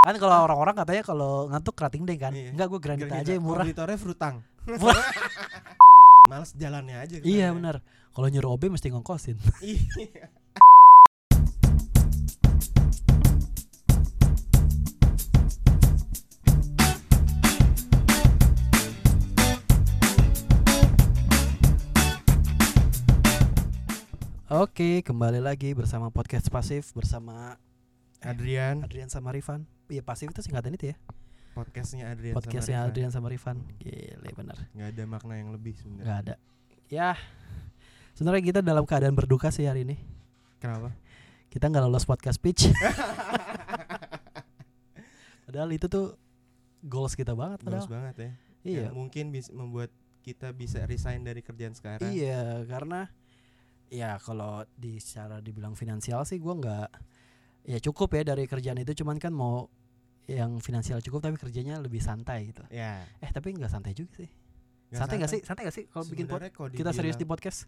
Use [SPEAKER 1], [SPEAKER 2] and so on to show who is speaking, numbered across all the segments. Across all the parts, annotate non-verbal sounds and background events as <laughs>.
[SPEAKER 1] kan kalau orang-orang katanya kalau ngantuk kerating deh kan.
[SPEAKER 2] Iya. Oh,
[SPEAKER 1] Enggak gue granita aja yang murah.
[SPEAKER 2] Auditornya frutang. <laughs> Males jalannya aja. gitu ke
[SPEAKER 1] Iya
[SPEAKER 2] sana.
[SPEAKER 1] benar. Kalau nyuruh OB mesti ngongkosin.
[SPEAKER 2] ya. <laughs> Iya.
[SPEAKER 1] Oke, kembali lagi bersama podcast pasif bersama
[SPEAKER 2] Adrian,
[SPEAKER 1] Adrian sama Rifan. Iya pasif itu singkatan itu ya.
[SPEAKER 2] podcastnya Adrian. Iya, sama
[SPEAKER 1] Podcastnya
[SPEAKER 2] Rifan.
[SPEAKER 1] Adrian sama Rifan. Gile bener.
[SPEAKER 2] Nggak ada makna yang lebih sebenarnya.
[SPEAKER 1] Enggak ada. Ya. Sebenarnya kita dalam keadaan berduka sih hari ini. <laughs>
[SPEAKER 2] Kenapa?
[SPEAKER 1] Kita nggak lolos podcast pitch. <laughs> Padahal itu tuh goals kita banget
[SPEAKER 2] Bagus
[SPEAKER 1] padahal.
[SPEAKER 2] banget ya.
[SPEAKER 1] Iya.
[SPEAKER 2] Yang mungkin bisa membuat kita bisa resign dari kerjaan sekarang.
[SPEAKER 1] Iya, karena ya kalau di secara dibilang finansial sih gua nggak ya cukup ya dari kerjaan itu cuman kan mau yang finansial cukup tapi kerjanya lebih santai gitu.
[SPEAKER 2] Ya.
[SPEAKER 1] Eh tapi nggak santai juga sih. santai nggak sih? Santai nggak sih kalau bikin pod-
[SPEAKER 2] Sebenarnya kalau
[SPEAKER 1] kita serius di
[SPEAKER 2] dibilang,
[SPEAKER 1] podcast?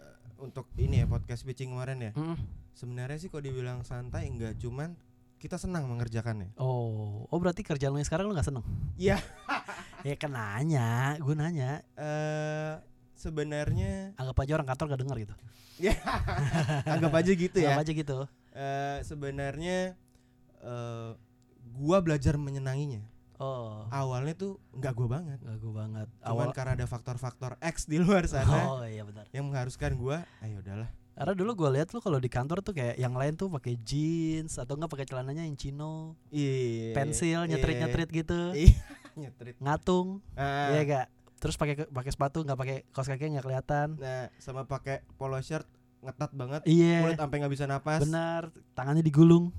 [SPEAKER 2] eh, untuk ini ya podcast pitching kemarin ya.
[SPEAKER 1] Mm-mm.
[SPEAKER 2] Sebenarnya sih kalau dibilang santai enggak cuman kita senang mengerjakannya.
[SPEAKER 1] Oh, oh berarti kerjaan lu yang sekarang lu nggak seneng?
[SPEAKER 2] Iya.
[SPEAKER 1] <laughs> ya kan nanya, gue nanya.
[SPEAKER 2] Eh
[SPEAKER 1] <laughs>
[SPEAKER 2] sebenarnya
[SPEAKER 1] Anggap aja orang kantor gak denger gitu.
[SPEAKER 2] anggap aja gitu ya.
[SPEAKER 1] Anggap aja gitu.
[SPEAKER 2] Eh, sebenarnya eh gua belajar menyenanginya.
[SPEAKER 1] Oh,
[SPEAKER 2] Awalnya tuh nggak gua banget.
[SPEAKER 1] gak gue banget.
[SPEAKER 2] Ah. Cuman
[SPEAKER 1] Awal.
[SPEAKER 2] karena ada faktor-faktor X di luar
[SPEAKER 1] Oh
[SPEAKER 2] sana
[SPEAKER 1] iya benar.
[SPEAKER 2] yang mengharuskan gua, ayo udahlah.
[SPEAKER 1] Karena dulu gue lihat lu kalau di kantor tuh kayak yang lain tuh pakai jeans atau enggak pakai celananya yang chino,
[SPEAKER 2] Iya.
[SPEAKER 1] pensil
[SPEAKER 2] iya.
[SPEAKER 1] nyetrit-nyetrit gitu,
[SPEAKER 2] Iya, <laughs> nyetrit.
[SPEAKER 1] ngatung,
[SPEAKER 2] Ah,
[SPEAKER 1] iya gak? Terus pakai ke- pakai sepatu nggak pakai kaos kaki nggak kelihatan.
[SPEAKER 2] Nah, sama pakai polo shirt ngetat banget,
[SPEAKER 1] Iya,
[SPEAKER 2] mulut sampai nggak bisa napas.
[SPEAKER 1] benar. Tangannya
[SPEAKER 2] <laughs>
[SPEAKER 1] digulung.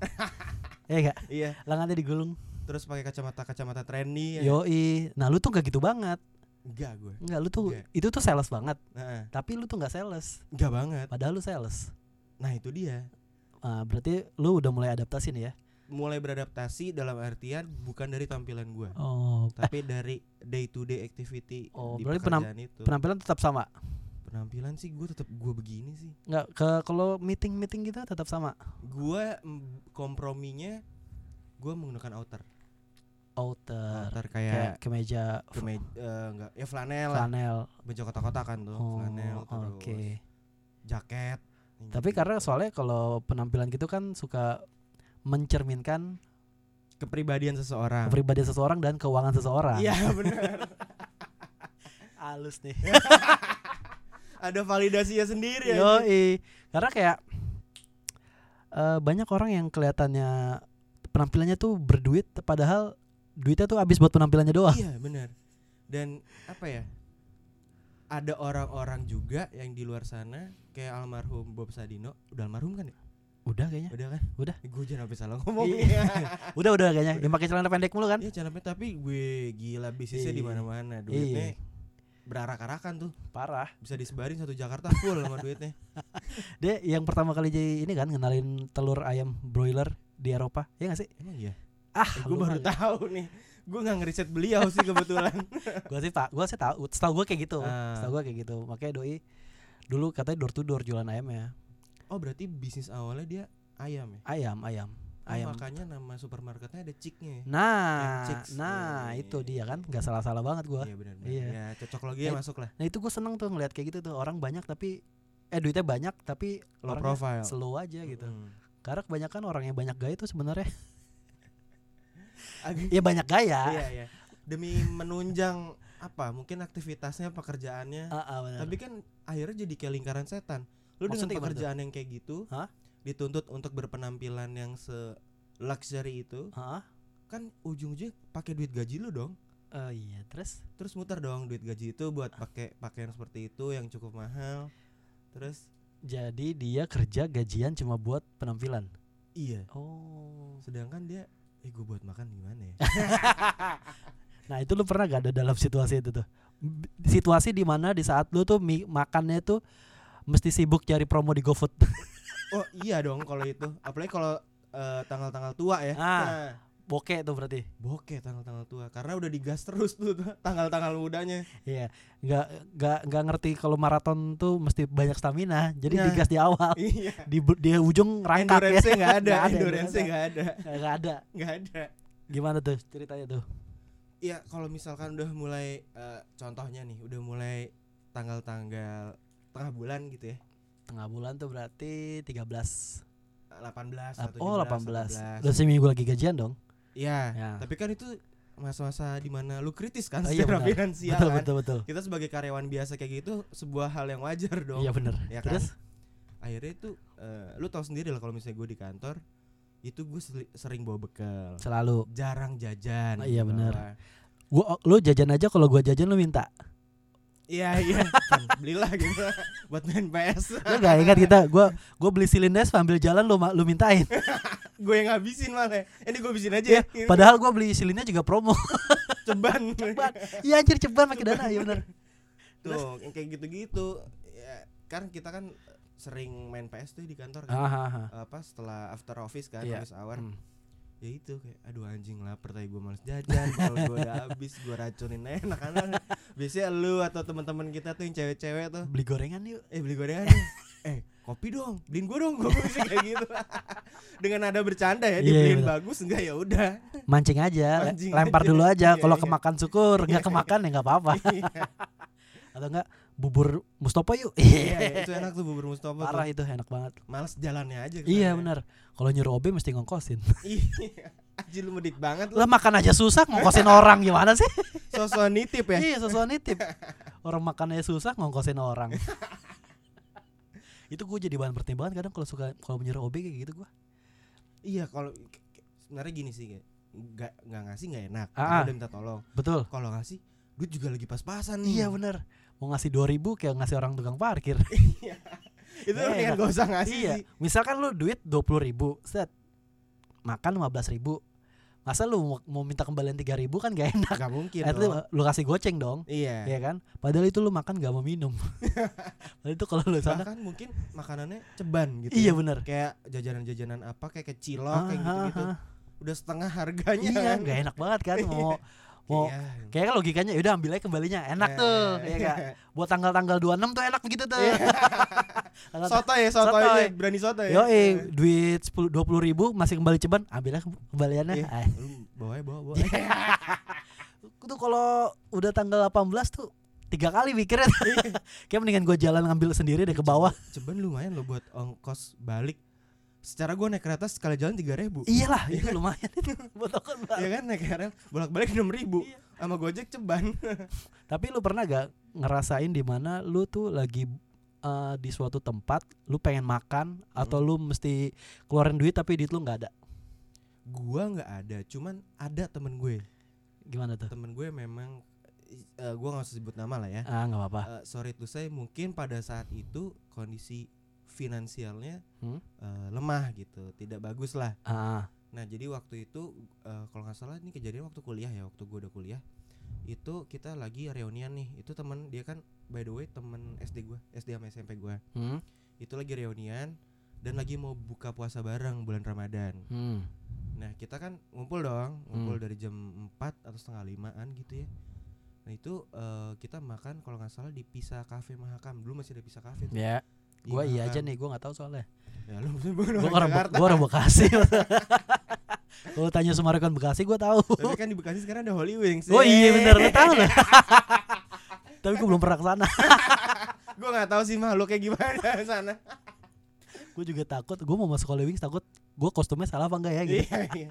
[SPEAKER 1] Iya gak?
[SPEAKER 2] Iya,
[SPEAKER 1] Lengannya digulung.
[SPEAKER 2] terus pakai kacamata-kacamata trendy. ya.
[SPEAKER 1] Yoi. Nah, lu tuh gak gitu banget.
[SPEAKER 2] Enggak gua.
[SPEAKER 1] Enggak, lu tuh
[SPEAKER 2] Iya.
[SPEAKER 1] itu tuh sales banget,
[SPEAKER 2] Nah,
[SPEAKER 1] tapi lu tuh nggak sales.
[SPEAKER 2] enggak banget.
[SPEAKER 1] Padahal lu sales.
[SPEAKER 2] Nah, itu dia.
[SPEAKER 1] Ah, berarti lu udah mulai adaptasi nih ya.
[SPEAKER 2] Mulai beradaptasi dalam artian bukan dari tampilan gua.
[SPEAKER 1] Oh,
[SPEAKER 2] tapi dari day to day activity
[SPEAKER 1] Oh,
[SPEAKER 2] di
[SPEAKER 1] berarti penam-
[SPEAKER 2] pekerjaan itu
[SPEAKER 1] penampilan tetap sama.
[SPEAKER 2] penampilan sih gue tetap gue begini sih
[SPEAKER 1] Enggak ke kalau meeting-meeting gitu tetap sama.
[SPEAKER 2] gue komprominya gue menggunakan outer
[SPEAKER 1] Outer
[SPEAKER 2] outer
[SPEAKER 1] kayak
[SPEAKER 2] kayak
[SPEAKER 1] kemeja
[SPEAKER 2] kemeja enggak ya flanel lah
[SPEAKER 1] flanel.
[SPEAKER 2] baju kotak-kotak kan tuh
[SPEAKER 1] Oh,
[SPEAKER 2] flanel terus
[SPEAKER 1] oke.
[SPEAKER 2] jaket yang
[SPEAKER 1] Tapi
[SPEAKER 2] gitu.
[SPEAKER 1] karena soalnya kalau penampilan gitu kan suka mencerminkan
[SPEAKER 2] Nah. kepribadian seseorang
[SPEAKER 1] kepribadian seseorang dan keuangan seseorang.
[SPEAKER 2] iya benar
[SPEAKER 1] <laughs> halus nih.
[SPEAKER 2] <laughs> ada validasinya sendiri ya
[SPEAKER 1] Yoi. Karena kayak eh, banyak orang yang kelihatannya penampilannya tuh berduit padahal duitnya tuh habis buat penampilannya doang.
[SPEAKER 2] iya benar dan apa ya ada orang-orang juga yang di luar sana kayak almarhum Bob Sadino udah almarhum kan ya?
[SPEAKER 1] Eh, Udah kayaknya.
[SPEAKER 2] Udah kan?
[SPEAKER 1] Udah.
[SPEAKER 2] Gue jangan sampai salah ngomong.
[SPEAKER 1] Iya. Udah udah kayaknya. Yang pakai celana pendek mulu kan?
[SPEAKER 2] <laughs> Iya, jangan sampai tapi gue gila bisnisnya di
[SPEAKER 1] Iya.
[SPEAKER 2] mana-mana.
[SPEAKER 1] Iya.
[SPEAKER 2] Duitnya berarak-arakan tuh.
[SPEAKER 1] Parah.
[SPEAKER 2] Bisa disebarin satu Jakarta full sama duitnya.
[SPEAKER 1] Dia yang pertama kali jadi ini kan ngenalin telur ayam broiler di Eropa, ya gak sih?
[SPEAKER 2] Emang iya?
[SPEAKER 1] Ah,
[SPEAKER 2] gue baru tahu nih. Gue nggak ngeriset beliau sih
[SPEAKER 1] <laughs>
[SPEAKER 2] kebetulan.
[SPEAKER 1] Gue sih tak, gue sih tahu. Setahu gue kayak gitu.
[SPEAKER 2] Ah.
[SPEAKER 1] Setahu gue kayak gitu. Makanya doi dulu katanya door to door jualan ya. ayamnya.
[SPEAKER 2] oh, berarti bisnis awalnya dia ayam ya?
[SPEAKER 1] Ayam, ayam,
[SPEAKER 2] Oh,
[SPEAKER 1] ayam.
[SPEAKER 2] makanya nama supermarketnya ada chicknya ya?
[SPEAKER 1] Nah,
[SPEAKER 2] Chicks.
[SPEAKER 1] nah
[SPEAKER 2] Iya,
[SPEAKER 1] itu
[SPEAKER 2] iya,
[SPEAKER 1] dia kan
[SPEAKER 2] iya.
[SPEAKER 1] nggak salah-salah banget gue.
[SPEAKER 2] Iya benar benar.
[SPEAKER 1] Iya.
[SPEAKER 2] Ya cocok lagi ya
[SPEAKER 1] Eh,
[SPEAKER 2] masuk lah.
[SPEAKER 1] Nah itu gue seneng tuh ngeliat kayak gitu tuh orang banyak tapi eh duitnya banyak tapi
[SPEAKER 2] Low
[SPEAKER 1] orangnya
[SPEAKER 2] profile.
[SPEAKER 1] slow aja gitu.
[SPEAKER 2] Mm.
[SPEAKER 1] Karena kebanyakan orang yang banyak gaya itu sebenarnya <laughs>
[SPEAKER 2] Ag-
[SPEAKER 1] ya banyak gaya.
[SPEAKER 2] <laughs> Iya, iya. Demi menunjang apa? Mungkin aktivitasnya, pekerjaannya.
[SPEAKER 1] Ah, ah, benar.
[SPEAKER 2] Tapi kan akhirnya jadi kayak lingkaran setan.
[SPEAKER 1] Maksudnya
[SPEAKER 2] Lu dengan
[SPEAKER 1] gimana tuh?
[SPEAKER 2] pekerjaan yang kayak gitu,
[SPEAKER 1] Hah?
[SPEAKER 2] dituntut untuk berpenampilan yang se luxury itu,
[SPEAKER 1] Ah,
[SPEAKER 2] kan ujung-ujungnya pakai duit gaji lu dong.
[SPEAKER 1] eh, iya terus
[SPEAKER 2] Terus muter dong duit gaji itu buat pakai pakaian seperti itu yang cukup mahal. Terus
[SPEAKER 1] jadi dia kerja gajian cuma buat penampilan.
[SPEAKER 2] iya,
[SPEAKER 1] Oh.
[SPEAKER 2] sedangkan dia eh gue buat makan gimana ya?
[SPEAKER 1] Nah itu lu pernah gak ada dalam situasi itu tuh? B- Situasi di mana di saat lu tuh mi- makannya tuh mesti sibuk cari promo di GoFood. <laughs>
[SPEAKER 2] oh, iya dong kalau itu. Apalagi kalau eh, tanggal-tanggal tua ya.
[SPEAKER 1] Ah.
[SPEAKER 2] Nah,
[SPEAKER 1] Bokeh tuh berarti.
[SPEAKER 2] bokeh tanggal-tanggal tua karena udah digas terus tuh tanggal-tanggal
[SPEAKER 1] <laughs>
[SPEAKER 2] mudanya.
[SPEAKER 1] Iya, nggak nggak nggak ngerti kalau maraton tuh mesti banyak stamina. Jadi
[SPEAKER 2] Nah.
[SPEAKER 1] digas di awal,
[SPEAKER 2] Iya.
[SPEAKER 1] di bu- di ujung rangkak ya.
[SPEAKER 2] Endurance-nya enggak ada,
[SPEAKER 1] Nggak ada,
[SPEAKER 2] endurance-nya
[SPEAKER 1] endurance-nya.
[SPEAKER 2] enggak ada.
[SPEAKER 1] Nggak ada.
[SPEAKER 2] nggak ada
[SPEAKER 1] Gimana tuh ceritanya tuh?
[SPEAKER 2] Iya, kalau misalkan udah mulai eh, contohnya nih, udah mulai tanggal-tanggal tengah bulan gitu ya.
[SPEAKER 1] Tengah bulan tuh berarti 13.
[SPEAKER 2] 18
[SPEAKER 1] Lap-
[SPEAKER 2] atau
[SPEAKER 1] oh 18.
[SPEAKER 2] 18.
[SPEAKER 1] Udah seminggu lagi gajian dong.
[SPEAKER 2] Iya,
[SPEAKER 1] Ya.
[SPEAKER 2] tapi kan itu masa-masa dimana lu kritis kan
[SPEAKER 1] Oh, iya,
[SPEAKER 2] secara
[SPEAKER 1] benar.
[SPEAKER 2] finansial
[SPEAKER 1] betul,
[SPEAKER 2] kan.
[SPEAKER 1] betul betul
[SPEAKER 2] Kita sebagai karyawan biasa kayak gitu sebuah hal yang wajar dong.
[SPEAKER 1] Iya bener.
[SPEAKER 2] Ya kan?
[SPEAKER 1] Terus
[SPEAKER 2] Akhirnya itu eh, lu tahu sendiri lah kalau misalnya gue di kantor itu gue seli- sering bawa
[SPEAKER 1] kan?
[SPEAKER 2] bekal,
[SPEAKER 1] selalu
[SPEAKER 2] jarang jajan.
[SPEAKER 1] Oh,
[SPEAKER 2] gitu kan.
[SPEAKER 1] iya,
[SPEAKER 2] di
[SPEAKER 1] benar.
[SPEAKER 2] bawah.
[SPEAKER 1] gua lu jajan aja kalau gua jajan lu minta.
[SPEAKER 2] Iya iya, Kan, belilah gitu <laughs> buat main PS.
[SPEAKER 1] Lu gak ingat kita gua gua beli silinders sambil jalan lu ma- lu mintain.
[SPEAKER 2] gue yang ngabisin malah. Ini gue habisin aja ya. Ini
[SPEAKER 1] Iya, Padahal gua beli silinnya juga promo.
[SPEAKER 2] ceban.
[SPEAKER 1] <laughs> Ceban. <laughs> Iya anjir ceban pakai dana ya bener.
[SPEAKER 2] Tuh, yang kayak gitu-gitu. Ya, kan kita kan eh, sering main PS tuh di kantor kan.
[SPEAKER 1] <laughs> Ah, ah, ah.
[SPEAKER 2] apa setelah after office kan
[SPEAKER 1] Iya.
[SPEAKER 2] office hour
[SPEAKER 1] Hmm.
[SPEAKER 2] ya itu kayak aduh anjing lapar tapi gue males jajan kalau gue udah habis gue racunin <laughs> aja anak-anak biasanya lu atau teman-teman kita tuh yang cewek-cewek tuh
[SPEAKER 1] Beli gorengan yuk.
[SPEAKER 2] eh beli gorengan <laughs> nih. eh kopi dong beliin gue dong gue bisa kayak <laughs> gitu dengan ada bercanda
[SPEAKER 1] Iya,
[SPEAKER 2] ya dibeliin
[SPEAKER 1] iya.
[SPEAKER 2] bagus enggak ya udah
[SPEAKER 1] Mancing aja, le-
[SPEAKER 2] Mancing
[SPEAKER 1] lempar
[SPEAKER 2] aja.
[SPEAKER 1] dulu aja.
[SPEAKER 2] Iya,
[SPEAKER 1] Kalau
[SPEAKER 2] iya.
[SPEAKER 1] kemakan syukur, nggak kemakan ya nggak <laughs> apa-apa.
[SPEAKER 2] Iya,
[SPEAKER 1] Atau enggak bubur Mustopo yuk.
[SPEAKER 2] <laughs> iya, itu enak tuh bubur Mustafa
[SPEAKER 1] <laughs> Parah
[SPEAKER 2] tuh
[SPEAKER 1] itu enak banget.
[SPEAKER 2] males jalannya aja ke
[SPEAKER 1] Iya
[SPEAKER 2] sana. <laughs>
[SPEAKER 1] benar. Kalau nyuruh OB mesti ngongkosin.
[SPEAKER 2] iya anjing lu medit banget lu
[SPEAKER 1] Lah makan aja susah <laughs> ngongkosin orang gimana sih?
[SPEAKER 2] sosok nitip ya
[SPEAKER 1] Iya, sosok nitip. Orang makannya susah ngongkosin
[SPEAKER 2] <laughs>
[SPEAKER 1] orang. itu gue jadi bahan pertimbangan kadang kalau suka kalau nyuruh OB kayak gitu gue.
[SPEAKER 2] iya kalau sebenarnya gini sih kayak nggak nggak ngasih nggak enak
[SPEAKER 1] Ah,
[SPEAKER 2] karena
[SPEAKER 1] ah.
[SPEAKER 2] udah minta tolong
[SPEAKER 1] Betul.
[SPEAKER 2] kalau ngasih duit juga lagi pas-pasan nih
[SPEAKER 1] Iya benar. Mau ngasih 2000 kayak ngasih orang tukang parkir.
[SPEAKER 2] <laughs>
[SPEAKER 1] Iya,
[SPEAKER 2] itu mendingan
[SPEAKER 1] enak.
[SPEAKER 2] gak usah ngasih
[SPEAKER 1] iya.
[SPEAKER 2] sih
[SPEAKER 1] Misalkan lu duit 20.000 set. Makan 15.000 Masa lu mau- mau minta kembalian 3000 kan gak enak.
[SPEAKER 2] <laughs> nggak mungkin
[SPEAKER 1] At
[SPEAKER 2] Iya dong.
[SPEAKER 1] least lu kasih goceng dong.
[SPEAKER 2] iya
[SPEAKER 1] Iya kan? Padahal itu lu makan gak mau
[SPEAKER 2] <laughs>
[SPEAKER 1] minum. Padahal itu kalau lu sana
[SPEAKER 2] bahkan mungkin makanannya ceban gitu
[SPEAKER 1] Iya
[SPEAKER 2] ya.
[SPEAKER 1] benar.
[SPEAKER 2] kayak jajanan-jajanan apa kayak kecilok
[SPEAKER 1] Ah,
[SPEAKER 2] kayak gitu-gitu
[SPEAKER 1] ah, ah.
[SPEAKER 2] udah setengah harganya
[SPEAKER 1] Iya,
[SPEAKER 2] kan.
[SPEAKER 1] gak enak banget kan mau mau
[SPEAKER 2] <laughs> Iya.
[SPEAKER 1] Kayaknya kan logikanya udah ambil aja kembalinya enak
[SPEAKER 2] Iya,
[SPEAKER 1] tuh
[SPEAKER 2] iya,
[SPEAKER 1] ya gak? Buat tanggal-tanggal 26 tuh enak begitu tuh.
[SPEAKER 2] <laughs> Iya.
[SPEAKER 1] Tanggal-
[SPEAKER 2] soto ya soto, aja,
[SPEAKER 1] Sotoy.
[SPEAKER 2] berani soto ya
[SPEAKER 1] Yo, duit 10 20 ribu masih kembali ceban, ambilnya ke- kembaliannya.
[SPEAKER 2] Iya.
[SPEAKER 1] Ah,
[SPEAKER 2] Lu bawa ya, bawa bawa
[SPEAKER 1] Eh, <laughs> Tuh kalau udah tanggal 18 tuh tiga kali mikirnya.
[SPEAKER 2] Iya.
[SPEAKER 1] <laughs> Kayak mendingan gua jalan ngambil sendiri deh ke bawah.
[SPEAKER 2] ceban lumayan lo buat ongkos balik secara gua naik kereta sekali jalan tiga ribu
[SPEAKER 1] Iyalah, itu lumayan itu <laughs> buat aku.
[SPEAKER 2] Iya kan naik KRL bolak-balik 6000 ribu
[SPEAKER 1] Iya.
[SPEAKER 2] sama Gojek ceban.
[SPEAKER 1] Tapi lu pernah gak ngerasain di mana lu tuh lagi eh, di suatu tempat lu pengen makan
[SPEAKER 2] Hmm.
[SPEAKER 1] atau lu mesti keluarin duit tapi duit lu nggak ada
[SPEAKER 2] gua nggak ada, cuman ada temen gue.
[SPEAKER 1] gimana tuh
[SPEAKER 2] Temen gue memang eh, gua nggak usah sebut nama lah ya.
[SPEAKER 1] ah nggak apa-apa
[SPEAKER 2] Eh, sorry tuh saya mungkin pada saat itu kondisi finansialnya
[SPEAKER 1] Hmm?
[SPEAKER 2] eh, lemah gitu, tidak bagus lah.
[SPEAKER 1] ah
[SPEAKER 2] Nah jadi waktu itu eh, kalau nggak salah ini kejadian waktu kuliah ya, waktu gua udah kuliah itu kita lagi reunian nih. Itu temen dia kan by the way temen SD gua, SD sama SMP gua.
[SPEAKER 1] hmm?
[SPEAKER 2] Itu lagi reunian dan lagi mau buka puasa bareng bulan Ramadan.
[SPEAKER 1] Hmm.
[SPEAKER 2] Nah kita kan ngumpul dong Ngumpul
[SPEAKER 1] Hmm.
[SPEAKER 2] dari jam 4 atau setengah limaan gitu ya Nah itu eh, kita makan kalau nggak salah di Pisa Cafe Mahakam Dulu masih ada Pisa Cafe tuh
[SPEAKER 1] ya
[SPEAKER 2] di
[SPEAKER 1] gua iya aja
[SPEAKER 2] Mahakam.
[SPEAKER 1] nih gua nggak tahu soalnya
[SPEAKER 2] Ya lu maksudnya
[SPEAKER 1] gua
[SPEAKER 2] bukan orang
[SPEAKER 1] orang Be-
[SPEAKER 2] Jakarta
[SPEAKER 1] gua orang bekasi <laughs> kalau tanya sama rekan bekasi gua <laughs> tahu
[SPEAKER 2] Tapi kan di Bekasi sekarang ada Holy Wings eh.
[SPEAKER 1] oh iya
[SPEAKER 2] Yeay.
[SPEAKER 1] bener lu tahu <laughs> lah tapi gua belum pernah kesana
[SPEAKER 2] Gua nggak tahu sih makhluknya gimana di sana
[SPEAKER 1] gua juga takut gua mau masuk Holy Wings takut gua kostumnya salah apa enggak ya <laughs> gitu
[SPEAKER 2] Iya iya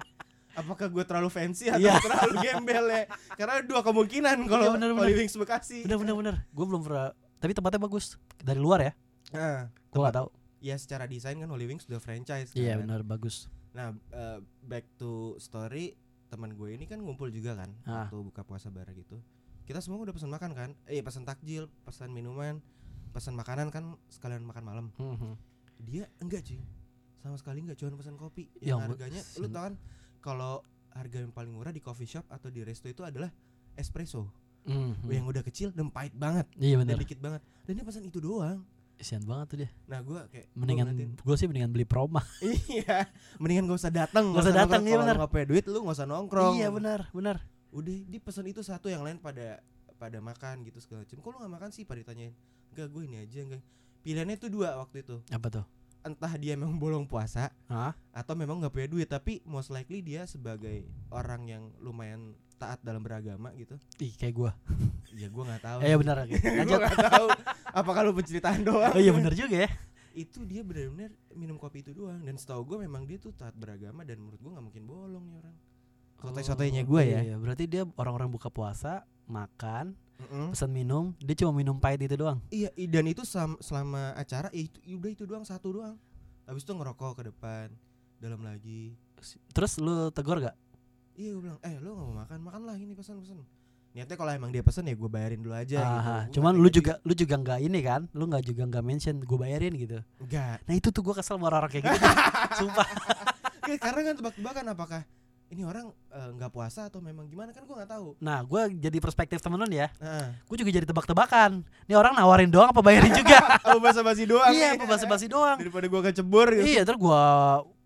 [SPEAKER 2] Apakah gue terlalu fancy atau
[SPEAKER 1] Iya.
[SPEAKER 2] terlalu gembel ya Karena ada dua kemungkinan
[SPEAKER 1] Iya,
[SPEAKER 2] kalau
[SPEAKER 1] bener, bener.
[SPEAKER 2] Holy Wings Bekasi
[SPEAKER 1] bener bener bener gua belum pernah tapi tempatnya bagus dari luar ya
[SPEAKER 2] Nah,
[SPEAKER 1] gua nggak tahu
[SPEAKER 2] Ya secara desain kan Holy Wings udah franchise
[SPEAKER 1] iya
[SPEAKER 2] kan?
[SPEAKER 1] bener bagus
[SPEAKER 2] Nah, eh, back to story teman gue ini kan ngumpul juga kan
[SPEAKER 1] Ah.
[SPEAKER 2] waktu buka puasa bareng gitu. Kita semua udah pesan makan kan? Eh, pesan takjil, pesan minuman, pesan makanan kan sekalian makan malam.
[SPEAKER 1] Mhm.
[SPEAKER 2] Dia enggak cuy. Sama sekali enggak cuman pesan kopi.
[SPEAKER 1] Ya
[SPEAKER 2] Yang
[SPEAKER 1] ampun,
[SPEAKER 2] harganya lu
[SPEAKER 1] sen-
[SPEAKER 2] tau kan kalau harga yang paling murah di coffee shop atau di resto itu adalah espresso
[SPEAKER 1] Mhm.
[SPEAKER 2] yang udah kecil dan pahit banget
[SPEAKER 1] iya
[SPEAKER 2] dan
[SPEAKER 1] bener
[SPEAKER 2] dikit banget dan dia pesan itu doang
[SPEAKER 1] kesian banget tuh dia
[SPEAKER 2] nah gue kayak gua ngeliatin, <laughs>
[SPEAKER 1] mendingan gua sih mendingan beli promo
[SPEAKER 2] iya mendingan gak usah datang
[SPEAKER 1] Nggak usah datang, iya bener.
[SPEAKER 2] nggak punya duit lu gak usah nongkrong
[SPEAKER 1] iya benar benar
[SPEAKER 2] udah dia pesan itu satu yang lain pada pada makan gitu segala macam kok lu gak makan sih pada ditanyain enggak gue ini aja enggak pilihannya tuh dua waktu itu
[SPEAKER 1] apa tuh
[SPEAKER 2] entah dia memang bolong puasa
[SPEAKER 1] Hah?
[SPEAKER 2] atau memang nggak punya duit tapi most likely dia sebagai orang yang lumayan taat dalam beragama gitu
[SPEAKER 1] Ih, kayak gua.
[SPEAKER 2] ya <laughs> gua nggak tahu
[SPEAKER 1] Eh, benar. oke.
[SPEAKER 2] gue
[SPEAKER 1] Lanjut.
[SPEAKER 2] nggak tahu apakah lu penceritaan doang
[SPEAKER 1] Oh iya benar juga ya.
[SPEAKER 2] itu dia benar-benar minum kopi itu doang dan setahu gue memang dia tuh taat beragama dan menurut gue nggak mungkin bolong nih orang
[SPEAKER 1] Oh,
[SPEAKER 2] Sotoy-sotoynya gua ya.
[SPEAKER 1] Iya, berarti dia orang-orang buka puasa, makan,
[SPEAKER 2] Mm-mm.
[SPEAKER 1] pesan minum, dia cuma minum pahit itu doang.
[SPEAKER 2] iya i- dan itu sam- selama acara ya itu ya udah itu doang satu doang habis itu ngerokok ke depan dalam lagi
[SPEAKER 1] Terus lu tegur gak?
[SPEAKER 2] iya gue bilang eh lu nggak mau makan makanlah ini pesan-pesan niatnya kalau emang dia pesan ya gue bayarin dulu aja
[SPEAKER 1] Aha,
[SPEAKER 2] gitu. Gua
[SPEAKER 1] Ah, cuman
[SPEAKER 2] nggak
[SPEAKER 1] lu
[SPEAKER 2] punya
[SPEAKER 1] juga lu juga nggak ini kan? Lu nggak juga nggak mention gue bayarin gitu.
[SPEAKER 2] duit. enggak
[SPEAKER 1] Nah, itu tuh gua kesel sama orang-orang kayak gitu.
[SPEAKER 2] <laughs>
[SPEAKER 1] Sumpah.
[SPEAKER 2] Kayak karena kan tebak-tebakan apakah ini orang eh, nggak puasa atau memang gimana kan gue nggak tahu
[SPEAKER 1] Nah, gua jadi perspektif temen lu nih ya.
[SPEAKER 2] nah
[SPEAKER 1] Gue juga jadi tebak-tebakan. Ini orang nawarin doang apa
[SPEAKER 2] <laughs>
[SPEAKER 1] bayarin juga?
[SPEAKER 2] apa basa-basi doang
[SPEAKER 1] iya,
[SPEAKER 2] nih.
[SPEAKER 1] apa basa-basi doang.
[SPEAKER 2] daripada gue kecebur gitu
[SPEAKER 1] Iya, terus gua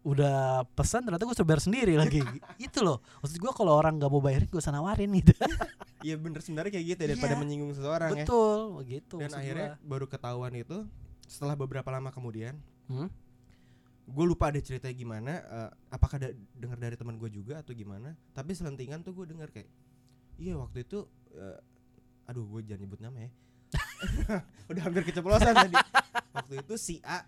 [SPEAKER 1] udah pesan ternyata gue bayar sendiri lagi. itu loh. Maksud gua kalau orang nggak mau bayarin gue usah nawarin gitu.
[SPEAKER 2] Iya bener sebenarnya kayak gitu ya, daripada
[SPEAKER 1] Iya.
[SPEAKER 2] menyinggung seseorang ya.
[SPEAKER 1] Betul, begitu.
[SPEAKER 2] Dan
[SPEAKER 1] maksud
[SPEAKER 2] akhirnya
[SPEAKER 1] gua.
[SPEAKER 2] baru ketahuan itu setelah beberapa lama kemudian.
[SPEAKER 1] Hmm?
[SPEAKER 2] Gue lupa ada ceritanya gimana. eh, apakah ada dengar dari teman gue juga atau gimana? Tapi selentingan tuh gue dengar kayak, iya waktu itu, eh, aduh gue jangan nyebut nama ya. <laughs> Udah hampir keceplosan tadi. Waktu itu si A